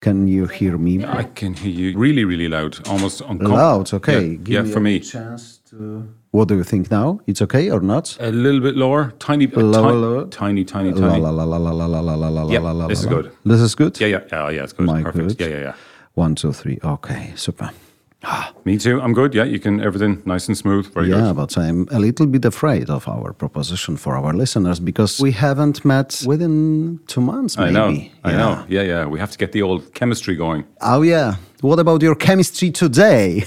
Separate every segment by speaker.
Speaker 1: Can you hear me?
Speaker 2: I can hear you really, really loud, almost uncomfortable.
Speaker 1: Loud, okay.
Speaker 2: Yeah,
Speaker 1: Give
Speaker 2: yeah,
Speaker 1: me
Speaker 2: for
Speaker 1: a
Speaker 2: me,
Speaker 1: Chance to... What do you think now? It's okay or not?
Speaker 2: a little bit lower, tiny, a
Speaker 1: Lower,
Speaker 2: ti-
Speaker 1: lower.
Speaker 2: tiny, tiny, tiny.
Speaker 1: La la la la la la la la la la
Speaker 2: Yeah,
Speaker 1: la la.
Speaker 2: this is
Speaker 1: la.
Speaker 2: good.
Speaker 1: This is good.
Speaker 2: Yeah, yeah, yeah, yeah. It's good.
Speaker 1: My
Speaker 2: Perfect.
Speaker 1: good.
Speaker 2: Yeah, yeah,
Speaker 1: One, two, three. Okay, super.
Speaker 2: yeah. Me too. I'm good. Yeah, you can. Everything nice and smooth. Very
Speaker 1: Yeah,
Speaker 2: good.
Speaker 1: but I'm a little bit afraid of our proposition for our listeners because we haven't met within two months,
Speaker 2: I
Speaker 1: maybe.
Speaker 2: know. I
Speaker 1: Yeah.
Speaker 2: know. Yeah, yeah. We have to get the old chemistry going.
Speaker 1: Oh, yeah. What about your chemistry today?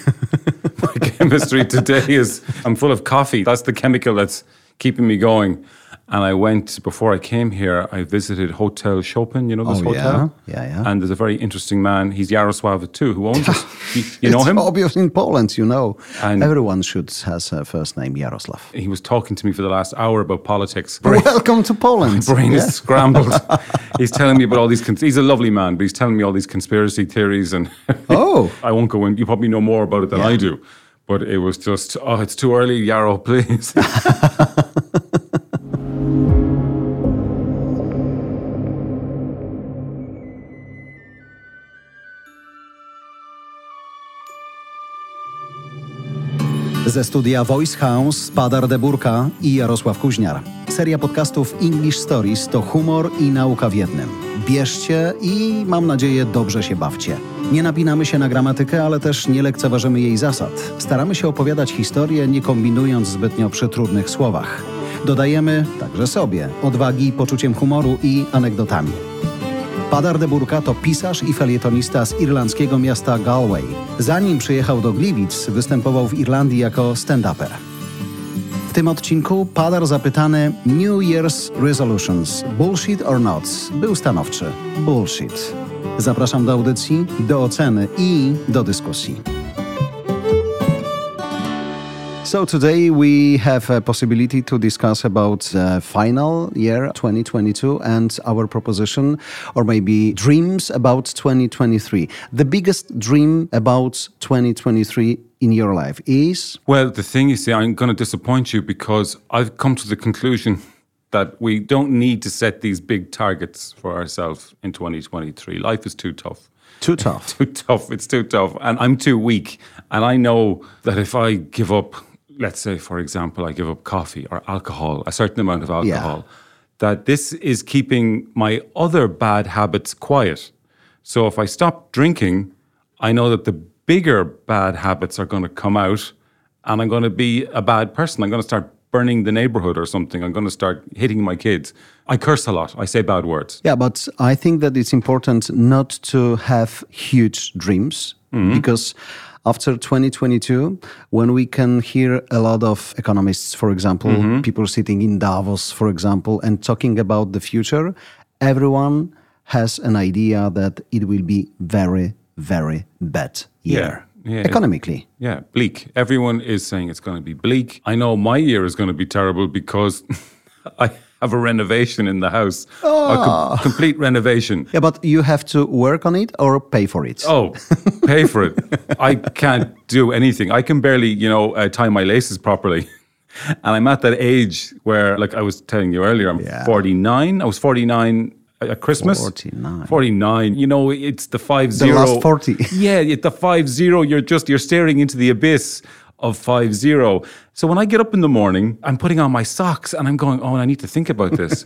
Speaker 2: chemistry today is I'm full of coffee. That's the chemical that's keeping me going. And I went before I came here. I visited Hotel Chopin. You know this
Speaker 1: Oh, yeah.
Speaker 2: hotel.
Speaker 1: Yeah, yeah.
Speaker 2: And there's a very interesting man. He's Yaroslav too, who owns it. You, you know
Speaker 1: it's
Speaker 2: him.
Speaker 1: obvious in Poland, you know.
Speaker 2: And-
Speaker 1: Everyone should has a first name Yaroslav.
Speaker 2: He was talking to me for the last hour about politics.
Speaker 1: Welcome to Poland.
Speaker 2: brain
Speaker 1: Yeah.
Speaker 2: is scrambled. he's telling me about all these. Cons- he's a lovely man, but he's telling me all these conspiracy theories, and
Speaker 1: Oh.
Speaker 2: I won't go in. You probably know more about it than I do, but it was just, oh, it's too early, Yarrow, please.
Speaker 1: Ze studia Voice House Padar Deburka i Jarosław Kuźniar. Seria podcastów English Stories to humor i nauka w jednym. Bierzcie i mam nadzieję dobrze się bawcie. Nie napinamy się na gramatykę, ale też nie lekceważymy jej zasad. Staramy się opowiadać historię, nie kombinując zbytnio przy trudnych słowach. Dodajemy także sobie odwagi, poczuciem humoru i anegdotami. Padar de Burka to pisarz i felietonista z irlandzkiego miasta Galway. Zanim przyjechał do Gliwic, występował w Irlandii jako stand-uper. W tym odcinku Padar zapytany New Year's Resolutions Bullshit or Not był stanowczy Bullshit. Zapraszam do audycji, do oceny i do dyskusji. So today we have a possibility to discuss about the final year 2022 and our proposition or maybe dreams about 2023. The biggest dream about 2023 in your life is
Speaker 2: well, the thing is, see, I'm going to disappoint you because I've come to the conclusion that we don't need to set these big targets for ourselves in 2023. Life is too tough.
Speaker 1: too tough.
Speaker 2: too tough. It's too tough. And I'm too weak. And I know that if I give up, let's say, for example, I give up coffee or alcohol, a certain amount of alcohol, that this is keeping my other bad habits quiet. So if I stop drinking, I know that the bigger bad habits are going to come out and I'm going to be a bad person. I'm going to start burning the neighborhood or something. I'm going to start hitting my kids. I curse a lot. I say bad words.
Speaker 1: Yeah, but I think that it's important not to have huge dreams
Speaker 2: Mm-hmm.
Speaker 1: because after 2022, when we can hear a lot of economists, for example,
Speaker 2: Mm-hmm.
Speaker 1: people sitting in Davos, for example, and talking about the future, everyone has an idea that it will be very, very bad year
Speaker 2: yeah, it-
Speaker 1: economically.
Speaker 2: Yeah, bleak. Everyone is saying it's going to be bleak. I know my year is going to be terrible because I have a renovation in the house, a com- complete renovation.
Speaker 1: Yeah, but you have to work on it or pay for it.
Speaker 2: Oh, pay for it. I can't do anything. I can barely, you know, uh, tie my laces properly. And I'm at that age where, like I was telling you earlier, I'm
Speaker 1: Yeah.
Speaker 2: 49. I was 49 at Christmas.
Speaker 1: 49.
Speaker 2: 49. You know, it's the five zero.
Speaker 1: last 40.
Speaker 2: yeah, it's the five zero. You're just, you're staring into the abyss of five zero. So when I get up in the morning, I'm putting on my socks and I'm going, oh, I need to think about this.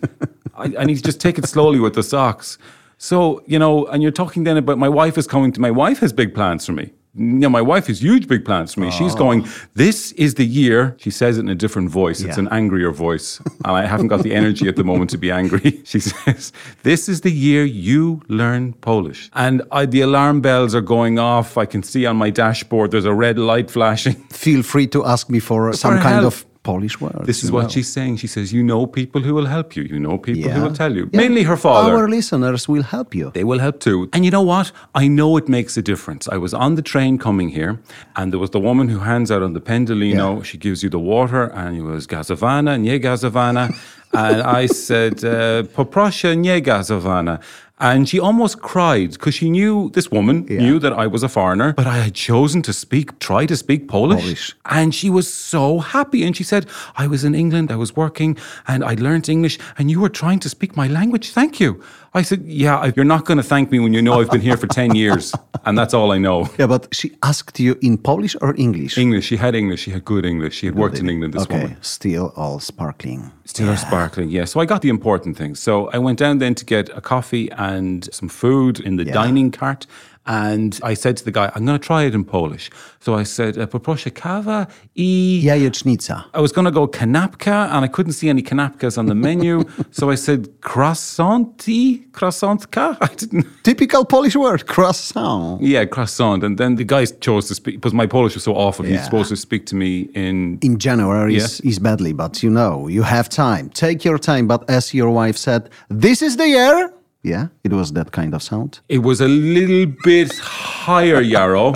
Speaker 2: I, I need to just take it slowly with the socks. So, you know, and you're talking then about my wife is coming to, my wife has big plans for me. No, my wife has huge big plans for me.
Speaker 1: Oh.
Speaker 2: She's going, this is the year. She says it in a different voice. It's
Speaker 1: Yeah.
Speaker 2: an angrier voice. And I haven't got the energy at the moment to be angry. She says, This is the year you learn Polish. And I, the alarm bells are going off. I can see on my dashboard there's a red light flashing.
Speaker 1: Feel free to ask me for some kind
Speaker 2: help.
Speaker 1: of Polish word.
Speaker 2: This is what she's saying. She says, You know people who will help you. You know people who will tell you.
Speaker 1: Yeah.
Speaker 2: Mainly her father.
Speaker 1: Our listeners will help you.
Speaker 2: They will help too. And you know what? I know it makes a difference. I was on the train coming here, and there was the woman who hands out on the Pendolino. She gives you the water, and it was gazowana, nie gazowana. and I said, uh, poproszę nie gazowana. And she almost cried because she knew this woman knew that I was a foreigner, but I had chosen to speak, try to speak Polish.
Speaker 1: Polish.
Speaker 2: And she was so happy. And she said, I was in England, I was working, and I learned English, and you were trying to speak my language. Thank you. I said, Yeah, I, you're not going to thank me when you know I've been here for 10 years and that's all I know.
Speaker 1: Yeah, but she asked you in Polish or English?
Speaker 2: English, she had English, she had good English. She had worked in England, this
Speaker 1: okay,
Speaker 2: woman.
Speaker 1: still all sparkling.
Speaker 2: Still are sparkling, yeah. So I got the important things. So I went down then to get a coffee and some food in the dining cart. And I said to the guy, I'm going to try it in Polish. So I said, "E, Poproszę kawa i.
Speaker 1: Jajecznica.
Speaker 2: I was going to go kanapka and I couldn't see any kanapkas on the menu. so I said croissanti, croissantka. I didn't.
Speaker 1: Typical Polish word, croissant.
Speaker 2: Yeah, croissant. And then the guy chose to speak because my Polish was so awful. He's
Speaker 1: Yeah.
Speaker 2: supposed to speak to me in.
Speaker 1: In January is, is badly, but you know, you have time. Take your time. But as your wife said, this is the year. Yeah, it was that kind of sound.
Speaker 2: It was a little bit higher, Yarrow.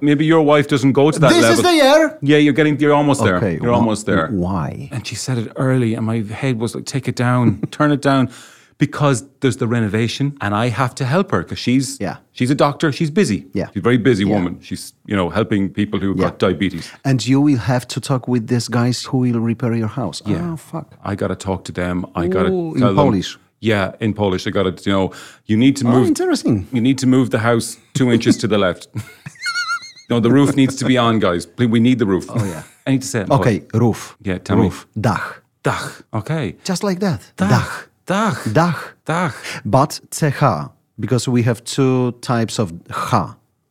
Speaker 2: Maybe your wife doesn't go to that
Speaker 1: this
Speaker 2: level.
Speaker 1: is the year.
Speaker 2: yeah, you're getting. You're almost there. You're
Speaker 1: wh-
Speaker 2: almost there.
Speaker 1: Why?
Speaker 2: And she said it early, and my head was like, take it down, turn it down, because there's the renovation, and I have to help her because she's
Speaker 1: Yeah.
Speaker 2: she's a doctor, she's busy,
Speaker 1: Yeah.
Speaker 2: she's a very busy woman. She's you know helping people who've got
Speaker 1: Yeah.
Speaker 2: diabetes.
Speaker 1: And you will have to talk with these guys who will repair your house. Yeah. Oh, fuck.
Speaker 2: I got to talk to them. I got to
Speaker 1: Ooh, in Polish.
Speaker 2: Yeah, in Polish, I got to you know you need to
Speaker 1: Oh,
Speaker 2: move.
Speaker 1: interesting.
Speaker 2: you need to move the house two inches to the left. no, the roof needs to be on, guys. Please, we need the roof. Oh
Speaker 1: yeah.
Speaker 2: I need to say it in Polish.
Speaker 1: Okay, roof.
Speaker 2: Yeah, tell me.
Speaker 1: roof. Dach.
Speaker 2: Dach. Okay.
Speaker 1: Just like that. Dach.
Speaker 2: Dach.
Speaker 1: Dach.
Speaker 2: Dach.
Speaker 1: But CH, because we have two types of H.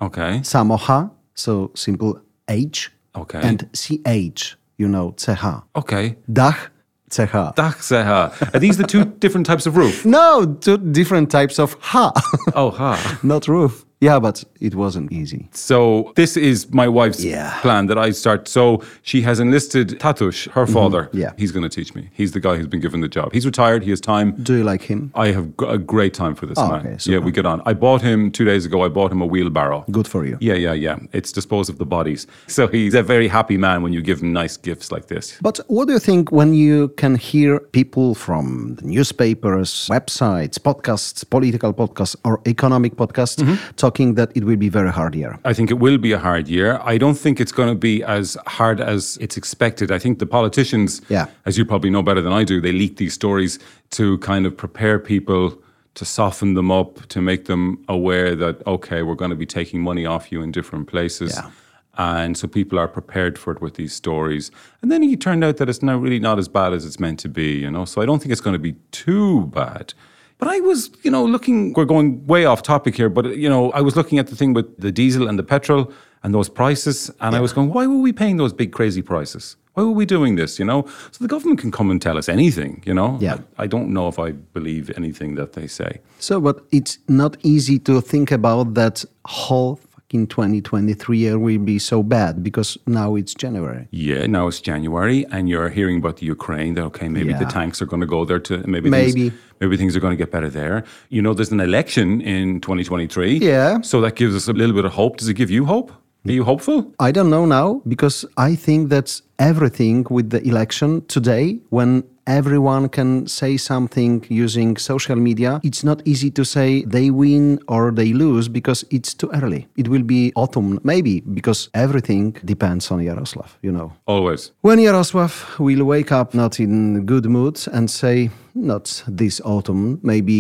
Speaker 2: Okay.
Speaker 1: Samo H, so simple H.
Speaker 2: Okay.
Speaker 1: And CH, you know, CH.
Speaker 2: Okay.
Speaker 1: Dach, CH.
Speaker 2: Dachseher. Are these the two different types of roof?
Speaker 1: No, two different types of H,
Speaker 2: Oh, ha.
Speaker 1: not roof. Yeah, but it wasn't easy.
Speaker 2: So this is my wife's
Speaker 1: Yeah.
Speaker 2: plan that I start. So she has enlisted Tatush, her father.
Speaker 1: Mm-hmm. yeah.
Speaker 2: He's going to teach me. He's the guy who's been given the job. He's retired. He has time.
Speaker 1: Do you like him?
Speaker 2: I have g- a great time for this man.
Speaker 1: Oh, okay,
Speaker 2: yeah,
Speaker 1: super.
Speaker 2: we get on. I bought him two days ago. I bought him a wheelbarrow.
Speaker 1: Good for you.
Speaker 2: Yeah, yeah, yeah. It's disposed of the bodies. So he's a very happy man when you give him nice gifts like this.
Speaker 1: But what do you think when you can hear people from the newspapers, websites, podcasts, political podcasts, or economic podcasts talking that it will be very hard year?
Speaker 2: I think it will be a hard year. I don't think it's going to be as hard as it's expected. I think the politicians,
Speaker 1: Yeah.
Speaker 2: as you probably know better than I do, they leak these stories to kind of prepare people to soften them up, to make them aware that, okay, we're going to be taking money off you in different places.
Speaker 1: Yeah.
Speaker 2: And so people are prepared for it with these stories. And then it turned out that it's not really not as bad as it's meant to be, you know. So I don't think it's going to be too bad. But I was, you know, looking, we're going way off topic here, but, you know, I was looking at the thing with the diesel and the petrol and those prices. And I was going, why were we paying those big, crazy prices? Why were we doing this, you know? So the government can come and tell us anything, you know?
Speaker 1: Yeah.
Speaker 2: I, I don't know if I believe anything that they say.
Speaker 1: So, but it's not easy to think about that whole fucking 2023 year will be so bad because now it's January.
Speaker 2: Yeah, now it's January, and you're hearing about the Ukraine. That okay, maybe the
Speaker 1: Yeah.
Speaker 2: tanks are going to go there to maybe
Speaker 1: Maybe.
Speaker 2: things, maybe things are going to get better there. You know, there's an election in 2023.
Speaker 1: Yeah.
Speaker 2: so that gives us a little bit of hope. Does it give you hope? Are you hopeful?
Speaker 1: I don't know now because I think that's everything with the election today when everyone can say something using social media. It's not easy to say they win or they lose because it's too early. It will be autumn, maybe, because everything depends on Yaroslav, you know.
Speaker 2: Always.
Speaker 1: When Yaroslav will wake up not in good mood and say, not this autumn, maybe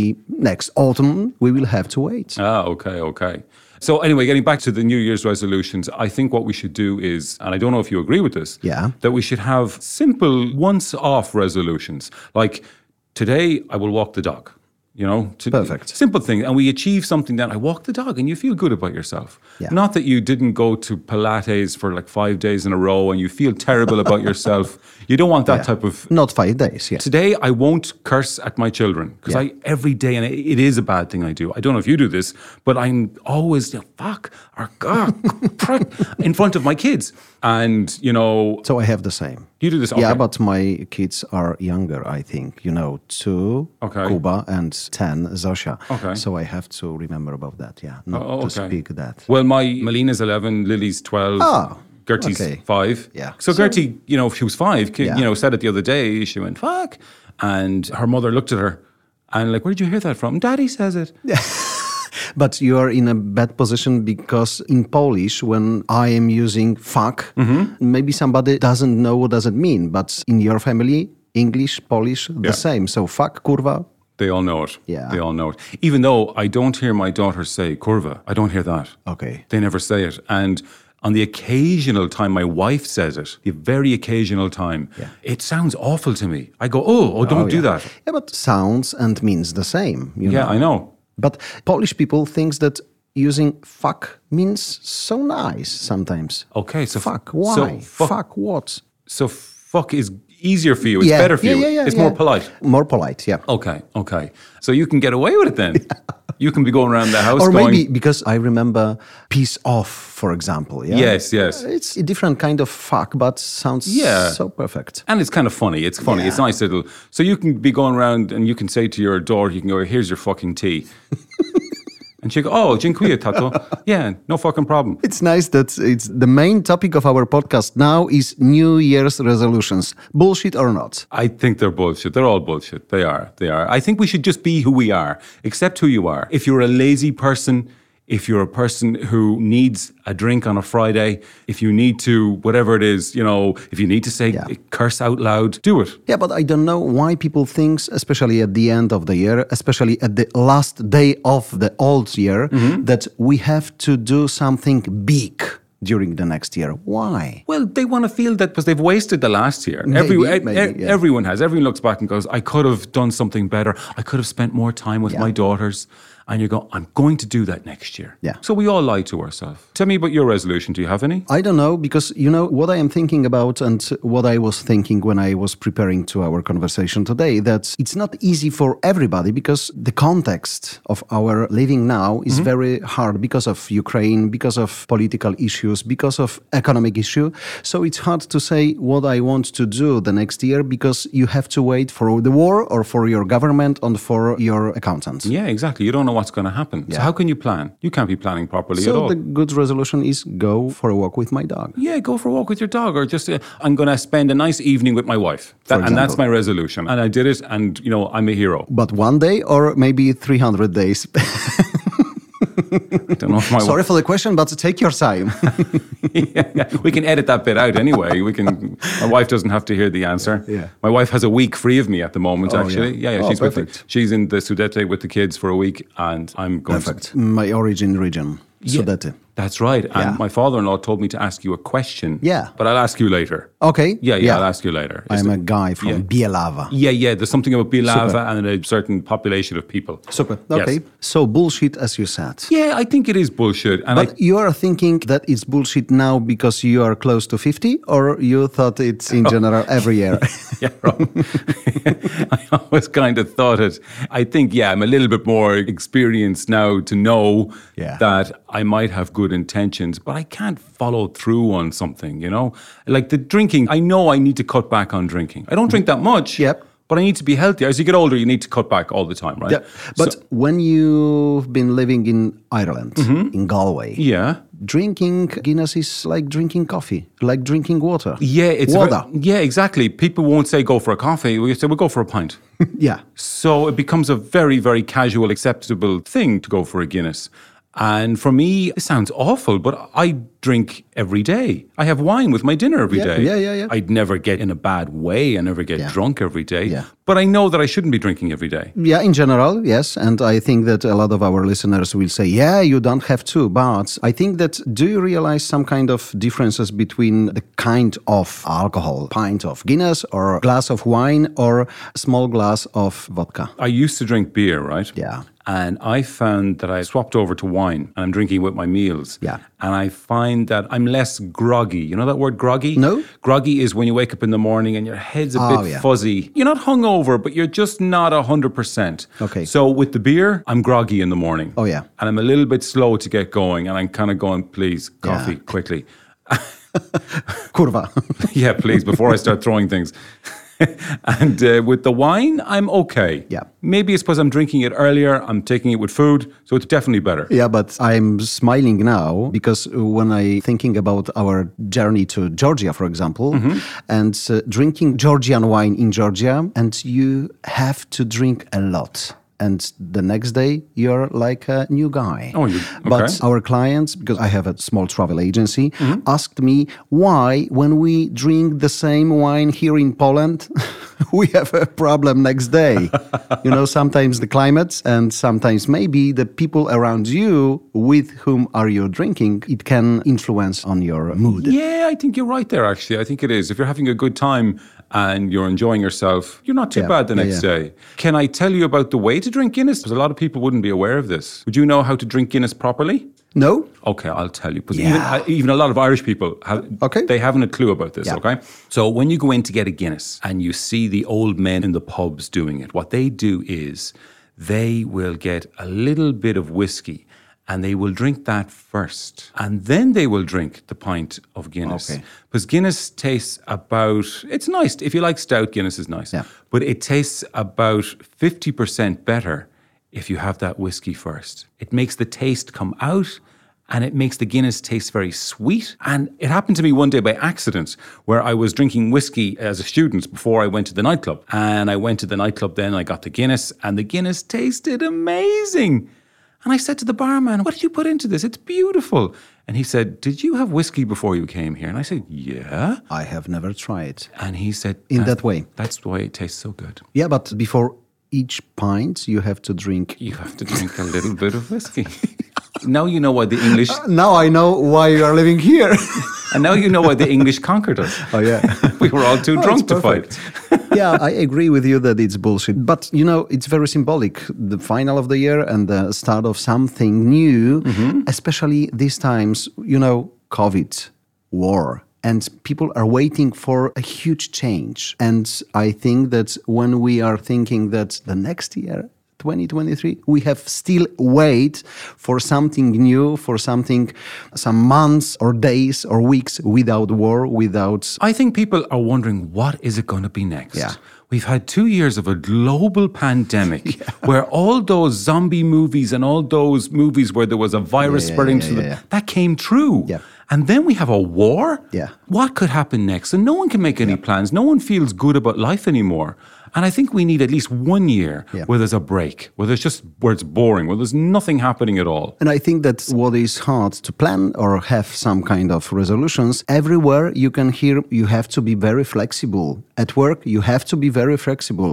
Speaker 1: next autumn, we will have to wait.
Speaker 2: Ah, okay, okay. So anyway, getting back to the New Year's resolutions, I think what we should do is, and I don't know if you agree with this,
Speaker 1: Yeah.
Speaker 2: that we should have simple once-off resolutions. Like today, I will walk the dog. You know, to,
Speaker 1: Perfect.
Speaker 2: Simple thing, and we achieve something that I walk the dog, and you feel good about yourself.
Speaker 1: Yeah.
Speaker 2: Not that you didn't go to Pilates for like five days in a row, and you feel terrible about yourself. You don't want that type of
Speaker 1: Not five days, yes.
Speaker 2: Today, I won't curse at my children because I every day, and it, it is a bad thing I do. I don't know if you do this, but I'm always you know, fuck or god prick," in front of my kids, and you know
Speaker 1: So I have the same.
Speaker 2: you do this.
Speaker 1: Yeah,
Speaker 2: okay.
Speaker 1: but my kids are younger, I think. You know, two,
Speaker 2: Okay.
Speaker 1: Kuba, and 10, Zosia.
Speaker 2: Okay.
Speaker 1: So I have to remember about that, yeah. Not
Speaker 2: Oh,
Speaker 1: to
Speaker 2: okay.
Speaker 1: speak that.
Speaker 2: Well, my Melina's 11, Lily's 12.
Speaker 1: Oh,
Speaker 2: Gertie's
Speaker 1: okay.
Speaker 2: five.
Speaker 1: Yeah.
Speaker 2: So, Gertie, you know, she was five, ki-
Speaker 1: Yeah.
Speaker 2: you know, said it the other day. She went, fuck. And her mother looked at her and, like, where did you hear that from? Daddy says it.
Speaker 1: But you are in a bad position because in Polish, when I am using fuck,
Speaker 2: Mm-hmm.
Speaker 1: maybe somebody doesn't know what does it mean. But in your family, English, Polish, the
Speaker 2: Yeah.
Speaker 1: same. So fuck, kurwa,
Speaker 2: They all know it.
Speaker 1: Yeah.
Speaker 2: They all know it. Even though I don't hear my daughter say curva, I don't hear that.
Speaker 1: Okay.
Speaker 2: They never say it. And on the occasional time my wife says it, the very occasional time, it sounds awful to me. I go, oh, oh, don't do
Speaker 1: yeah.
Speaker 2: that.
Speaker 1: Yeah, but sounds and means the same. You
Speaker 2: Yeah,
Speaker 1: know?
Speaker 2: I know.
Speaker 1: But Polish people thinks that using fuck means so nice sometimes.
Speaker 2: Okay, Oh, so f-
Speaker 1: Fuck, why?
Speaker 2: So fuck,
Speaker 1: fuck what?
Speaker 2: so fuck is easier for you. It's better for
Speaker 1: yeah,
Speaker 2: you.
Speaker 1: Yeah, yeah,
Speaker 2: it's
Speaker 1: yeah.
Speaker 2: more polite.
Speaker 1: More polite, yeah.
Speaker 2: Okay, okay. So you can get away with it then. You can be going around the house
Speaker 1: or
Speaker 2: going,
Speaker 1: maybe because I remember piece off, for example. Yeah? Uh,
Speaker 2: Yes, yes.
Speaker 1: It's a different kind of fuck, but sounds
Speaker 2: Yeah.
Speaker 1: so perfect.
Speaker 2: and it's kind of funny. It's funny. It's
Speaker 1: Yeah.
Speaker 2: nice little. So you can be going around and you can say to your daughter, you can go, here's your fucking tea. and she go, oh, dziękuję, tato. yeah, no fucking problem.
Speaker 1: It's nice that it's the main topic of our podcast now is New Year's resolutions, bullshit or not.
Speaker 2: I think they're bullshit. They're all bullshit. They are. They are. I think we should just be who we are, accept who you are. If you're a lazy person, if you're a person who needs a drink on a Friday, if you need to, whatever it is, you know, if you need to say,
Speaker 1: Yeah.
Speaker 2: curse out loud, do it.
Speaker 1: Yeah, but I don't know why people think, especially at the end of the year, especially at the last day of the old year, that we have to do something big during the next year. Why?
Speaker 2: Well, they want to feel that because they've wasted the last year. e,
Speaker 1: Maybe, maybe, yeah.
Speaker 2: Everyone has. Everyone looks back and goes, I could have done something better. I could have spent more time with my daughters. And you go, I'm going to do that next year.
Speaker 1: Yeah.
Speaker 2: So we all lie to ourselves. Tell me about your resolution. Do you have any?
Speaker 1: I don't know because you know what I am thinking about and what I was thinking when I was preparing to our conversation today that it's not easy for everybody because the context of our living now
Speaker 2: Mm-hmm.
Speaker 1: is very hard because of Ukraine because of political issues because of economic issue so it's hard to say what I want to do the next year because you have to wait for the war or for your government and for your accountants
Speaker 2: Yeah, exactly. You don't know what's going to happen. So how can you plan? You can't be planning properly at
Speaker 1: so
Speaker 2: all.
Speaker 1: the good resolution is go for a walk with my dog
Speaker 2: yeah, go for a walk with your dog, or just uh, I'm going to spend a nice evening with my wife, That- and that's my resolution. And I did it, and you know I'm a hero.
Speaker 1: but one day or maybe 300 days.
Speaker 2: I don't know if my
Speaker 1: Sorry for the question, but take your time.
Speaker 2: we can edit that bit out anyway. We can. My wife doesn't have to hear the answer.
Speaker 1: Yeah.
Speaker 2: My wife has a week free of me at the moment. actually, yeah, yeah.
Speaker 1: Oh,
Speaker 2: she's with the,
Speaker 1: perfect.
Speaker 2: she's in the Sudete with the kids for a week, and I'm going. to-
Speaker 1: My origin region,
Speaker 2: Yeah.
Speaker 1: Sudety.
Speaker 2: that's right. And
Speaker 1: Yeah.
Speaker 2: my father-in-law told me to ask you a question.
Speaker 1: Yeah.
Speaker 2: But I'll ask you later.
Speaker 1: Okay.
Speaker 2: Yeah, yeah. I'll ask you later. It's
Speaker 1: I'm a guy from Bielava.
Speaker 2: Yeah, yeah. There's something about Bielava and a certain population of people.
Speaker 1: Super.
Speaker 2: Yes.
Speaker 1: Okay. So bullshit, as you said.
Speaker 2: Yeah, I think it is bullshit. And I,
Speaker 1: But you are thinking that it's bullshit now because you are close to 50, or you thought it's
Speaker 2: Oh.
Speaker 1: in general every year?
Speaker 2: yeah, wrong. I always kind of thought it. I think, yeah, I'm a little bit more experienced now to know
Speaker 1: Yeah.
Speaker 2: that I might have good intentions, but I can't follow through on something, you know? Like the drinking, I know I need to cut back on drinking. I don't drink that much.
Speaker 1: Yep.
Speaker 2: But I need to be healthier. As you get older, you need to cut back all the time, right?
Speaker 1: yeah. But
Speaker 2: So-
Speaker 1: when you've been living in Ireland, in Galway,
Speaker 2: Mm-hmm. yeah.
Speaker 1: drinking Guinness is like drinking coffee, like drinking water.
Speaker 2: Yeah, it's a ver-
Speaker 1: water.
Speaker 2: yeah, exactly. People won't say go for a coffee. We say we'll go for a pint.
Speaker 1: yeah.
Speaker 2: so it becomes a very, very casual, acceptable thing to go for a Guinness. And for me, it sounds awful, but I drink every day. I have wine with my dinner every day.
Speaker 1: yeah, yeah, yeah.
Speaker 2: I'd never get in a bad way. I never get drunk every day.
Speaker 1: Yeah.
Speaker 2: But I know that I shouldn't be drinking every day.
Speaker 1: Yeah, in general, yes. And I think that a lot of our listeners will say, yeah, you don't have to. But I think that do you realize some kind of differences between the kind of alcohol, pint of Guinness or glass of wine or small glass of vodka?
Speaker 2: I used to drink beer, right?
Speaker 1: Yeah.
Speaker 2: And I found that I swapped over to wine and I'm drinking with my meals.
Speaker 1: Yeah.
Speaker 2: And I find that I'm less groggy. You know that word groggy?
Speaker 1: No.
Speaker 2: Groggy is when you wake up in the morning and your head's a
Speaker 1: Oh,
Speaker 2: bit
Speaker 1: yeah.
Speaker 2: fuzzy. You're not hungover, but you're just not 100%.
Speaker 1: Okay.
Speaker 2: So with the beer, I'm groggy in the morning.
Speaker 1: Oh, yeah.
Speaker 2: And I'm a little bit slow to get going and I'm kind of going, please, coffee, quickly.
Speaker 1: Kurwa.
Speaker 2: yeah, please, before I start throwing things. and uh, with the wine, I'm okay.
Speaker 1: Yeah.
Speaker 2: Maybe it's because I'm drinking it earlier, I'm taking it with food, so it's definitely better.
Speaker 1: yeah, but I'm smiling now because when I thinking about our journey to Georgia, for example,
Speaker 2: Mm-hmm.
Speaker 1: and uh, drinking Georgian wine in Georgia, and you have to drink a lot. And the next day, you're like a new guy.
Speaker 2: Oh, you-
Speaker 1: But
Speaker 2: okay.
Speaker 1: our clients, because I have a small travel agency, asked me why, when we drink the same wine here in Poland, we have a problem next day. you know, sometimes the climate and sometimes maybe the people around you with whom are you drinking, it can influence on your mood.
Speaker 2: Yeah, I think you're right there, actually. I think it is. If you're having a good time and you're enjoying yourself, you're not too
Speaker 1: Yeah,
Speaker 2: bad the
Speaker 1: yeah,
Speaker 2: next
Speaker 1: yeah.
Speaker 2: day. Can I tell you about the way to drink Guinness? Because a lot of people wouldn't be aware of this. Would you know how to drink Guinness properly?
Speaker 1: No?
Speaker 2: Okay, I'll tell you. Because
Speaker 1: Yeah.
Speaker 2: even, even a lot of Irish people have,
Speaker 1: Okay.
Speaker 2: they haven't a clue about this,
Speaker 1: Yeah.
Speaker 2: okay? So when you go in to get a Guinness and you see the old men in the pubs doing it, what they do is they will get a little bit of whiskey and they will drink that first. And then they will drink the pint of Guinness.
Speaker 1: Okay.
Speaker 2: Because Guinness tastes about, it's nice. If you like stout, Guinness is nice.
Speaker 1: Yeah.
Speaker 2: But it tastes about 50% better if you have that whiskey first. It makes the taste come out and it makes the Guinness taste very sweet. And it happened to me one day by accident where I was drinking whiskey as a student before I went to the nightclub. And I went to the nightclub then, I got the Guinness, and the Guinness tasted amazing. And I said to the barman, What did you put into this? It's beautiful. And he said, Did you have whiskey before you came here? And I said, Yeah.
Speaker 1: I have never tried.
Speaker 2: And he said,
Speaker 1: In that way.
Speaker 2: That's why it tastes so good.
Speaker 1: Yeah, but before each pint, you have to drink.
Speaker 2: You have to drink a little bit of whiskey. now you know why the English
Speaker 1: Now I know why you are living here.
Speaker 2: and now you know why the English conquered us.
Speaker 1: oh, yeah.
Speaker 2: We were all too
Speaker 1: Oh,
Speaker 2: drunk
Speaker 1: it's
Speaker 2: to
Speaker 1: perfect.
Speaker 2: fight.
Speaker 1: yeah, I agree with you that it's bullshit. But you know, it's very symbolic. The final of the year and the start of something new, especially these times, you know, COVID, war. And people are waiting for a huge change. And I think that when we are thinking that the next year 2023 we have still wait for something new for something some months or days or weeks without war without
Speaker 2: I think people are wondering what is it going to be next?
Speaker 1: Yeah.
Speaker 2: We've had two years of a global pandemic where all those zombie movies and all those movies where there was a virus
Speaker 1: yeah,
Speaker 2: spreading
Speaker 1: yeah,
Speaker 2: to the
Speaker 1: yeah, yeah.
Speaker 2: that came true.
Speaker 1: Yeah.
Speaker 2: And then we have a war.
Speaker 1: Yeah.
Speaker 2: What could happen next? And no one can make any plans. No one feels good about life anymore. And I think we need at least one year
Speaker 1: Yeah.
Speaker 2: where there's a break, where there's just where it's boring, where there's nothing happening at all.
Speaker 1: And I think that what is hard to plan or have some kind of resolutions, everywhere you can hear you have to be very flexible. At work, you have to be very flexible.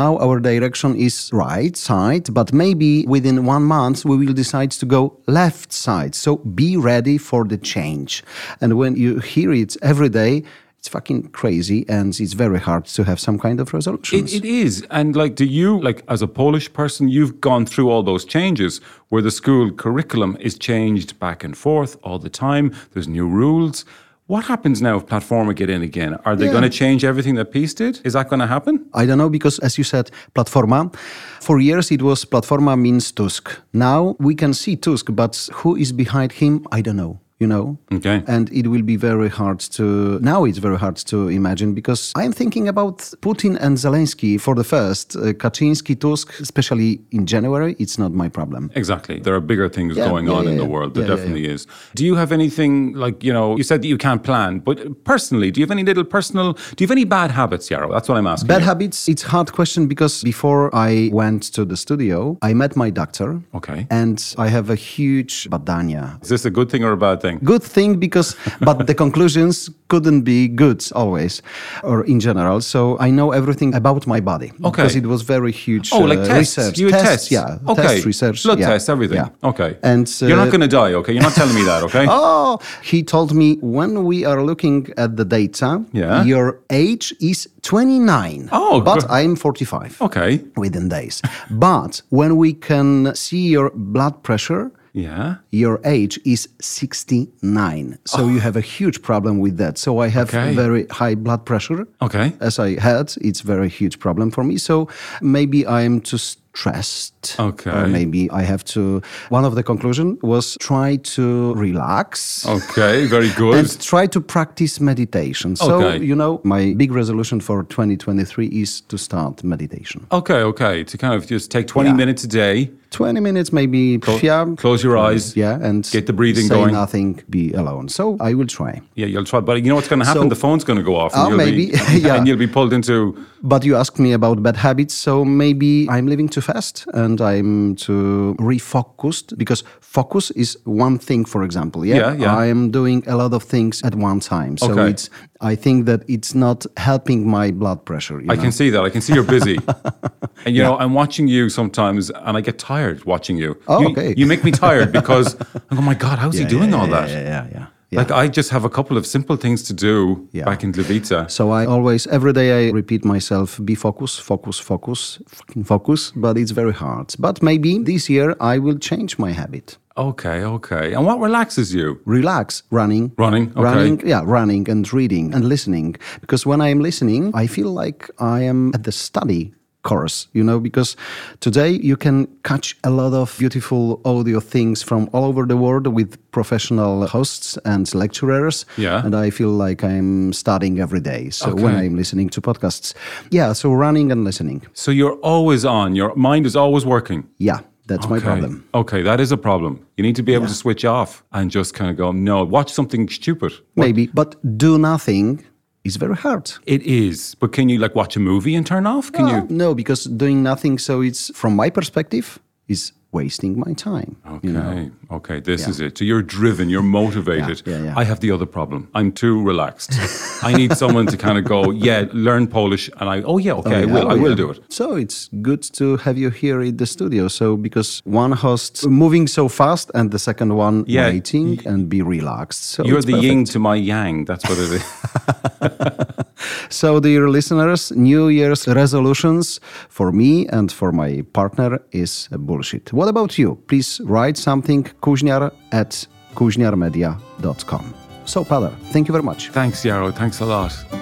Speaker 1: Now our direction is right side, but maybe within one month we will decide to go left side. So be ready for the change. And when you hear it every day, it's fucking crazy and it's very hard to have some kind of resolutions.
Speaker 2: It, it is. And like, do you, like, as a Polish person, you've gone through all those changes where the school curriculum is changed back and forth all the time. There's new rules. What happens now if Platforma get in again? Are they
Speaker 1: Yeah.
Speaker 2: going to change everything that Peace did? Is that going to happen?
Speaker 1: I don't know because, as you said, platforma. For years it was platforma means Tusk. Now we can see Tusk, but who is behind him? I don't know. You know,
Speaker 2: Okay.
Speaker 1: and it will be very hard to now. It's very hard to imagine because I'm thinking about Putin and Zelensky for the first uh, Kaczynski, Tusk, especially in January. It's not my problem.
Speaker 2: Exactly. There are bigger things
Speaker 1: Yeah,
Speaker 2: going
Speaker 1: yeah,
Speaker 2: on
Speaker 1: yeah,
Speaker 2: in the
Speaker 1: yeah.
Speaker 2: world. There
Speaker 1: Yeah, yeah,
Speaker 2: definitely is. Do you have anything like, you know, you said that you can't plan, but personally, do you have any little personal, do you have any bad habits, Yarrow? That's what I'm asking.
Speaker 1: Bad
Speaker 2: you.
Speaker 1: habits. It's hard question because before I went to the studio, I met my doctor.
Speaker 2: Okay.
Speaker 1: and I have a huge badania.
Speaker 2: is this a good thing or a bad thing?
Speaker 1: good thing because but the conclusions couldn't be good always or in general so i know everything about my body
Speaker 2: Okay.
Speaker 1: because it was very huge
Speaker 2: Oh, like
Speaker 1: uh,
Speaker 2: tests.
Speaker 1: research
Speaker 2: You would
Speaker 1: tests,
Speaker 2: test.
Speaker 1: yeah
Speaker 2: Okay.
Speaker 1: test research
Speaker 2: Blood
Speaker 1: yeah,
Speaker 2: tests, everything.
Speaker 1: yeah.
Speaker 2: Okay.
Speaker 1: and
Speaker 2: You're not
Speaker 1: uh,
Speaker 2: going to die, okay? You're not telling me that, okay?
Speaker 1: Oh, he told me when we are looking at the data,
Speaker 2: Yeah.
Speaker 1: your age is 29.
Speaker 2: Oh,
Speaker 1: but
Speaker 2: good.
Speaker 1: I'm 45
Speaker 2: Okay.
Speaker 1: within days. but when we can see your blood pressure,
Speaker 2: Yeah.
Speaker 1: your age is 69 so you have a huge problem with that so i have
Speaker 2: Okay.
Speaker 1: very high blood pressure
Speaker 2: Okay.
Speaker 1: as i had it's very huge problem for me so maybe i'm too stressed
Speaker 2: Okay.
Speaker 1: or maybe i have to one of the conclusion was try to relax
Speaker 2: Oh. Okay. Very good.
Speaker 1: and try to practice meditation so
Speaker 2: Okay.
Speaker 1: you know my big resolution for 2023 is to start meditation
Speaker 2: okay. Okay. To kind of just take 20
Speaker 1: Yeah.
Speaker 2: minutes a day,
Speaker 1: 20 minutes maybe yeah,
Speaker 2: close your eyes.
Speaker 1: yeah and
Speaker 2: Get the breathing
Speaker 1: say
Speaker 2: going.
Speaker 1: nothing be alone so i will try
Speaker 2: Yeah, you'll try. But you know what's going to happen?
Speaker 1: So-
Speaker 2: the phone's going to go off. And
Speaker 1: Oh,
Speaker 2: you'll
Speaker 1: maybe.
Speaker 2: Be,
Speaker 1: Yeah.
Speaker 2: And you'll be pulled into.
Speaker 1: But you asked me about bad habits, so maybe I'm living too fast and I'm too refocused because focus is one thing, for example. Yeah,
Speaker 2: Yeah, yeah.
Speaker 1: I'm doing a lot of things at one time. So
Speaker 2: Okay.
Speaker 1: it's I think that it's not helping my blood pressure. you
Speaker 2: I
Speaker 1: know?
Speaker 2: can see that. I can see you're busy. and you know, I'm watching you sometimes and I get tired watching you.
Speaker 1: Oh,
Speaker 2: you,
Speaker 1: okay.
Speaker 2: You make me tired because I go, "Oh my God, how's
Speaker 1: Yeah,
Speaker 2: he doing
Speaker 1: yeah,
Speaker 2: all
Speaker 1: yeah,
Speaker 2: that?
Speaker 1: Yeah, yeah, yeah. yeah.
Speaker 2: Like, I just have a couple of simple things to do
Speaker 1: Yeah.
Speaker 2: back in Levica.
Speaker 1: So I always, every day, I repeat myself: be focused, focus, focus, fucking focus. But it's very hard. But maybe this year I will change my habit.
Speaker 2: Okay, okay. And what relaxes you?
Speaker 1: Relax, running,
Speaker 2: Running, okay.
Speaker 1: running, yeah, running and reading and listening. Because when I am listening, I feel like I am at the study course, you know. Because today you can catch a lot of beautiful audio things from all over the world with professional hosts and lecturers.
Speaker 2: Yeah.
Speaker 1: and I feel like I'm studying every day. So when
Speaker 2: Okay.
Speaker 1: I'm listening to podcasts, yeah, so running and listening,
Speaker 2: So you're always on. Your mind is always working.
Speaker 1: yeah, that's my
Speaker 2: Okay.
Speaker 1: problem.
Speaker 2: Okay, that is a problem. You need to be able to switch off and just kind of go, no, watch something stupid.
Speaker 1: Maybe, but do nothing is very hard.
Speaker 2: It is. But can you like watch a movie and turn off? Can you?
Speaker 1: No, No, because doing nothing, so it's from my perspective, is wasting my time.
Speaker 2: Okay, okay, this is it. So you're driven, you're motivated.
Speaker 1: yeah, yeah.
Speaker 2: I have the other problem. I'm too relaxed. I need someone to kind of go, yeah, learn Polish, and I, oh yeah, okay, I will, I will do it.
Speaker 1: So it's good to have you here in the studio. So because one host moving so fast and the second one
Speaker 2: Yeah,
Speaker 1: waiting and be relaxed. So
Speaker 2: You're
Speaker 1: it's
Speaker 2: the
Speaker 1: perfect.
Speaker 2: yin to my yang. That's what it is.
Speaker 1: So dear listeners, New Year's resolutions for me and for my partner is bullshit. What about you? Please write something kuźniar at kuźniarmedia.com. So Pader, thank you very much.
Speaker 2: Thanks, Yarrow. Thanks a lot.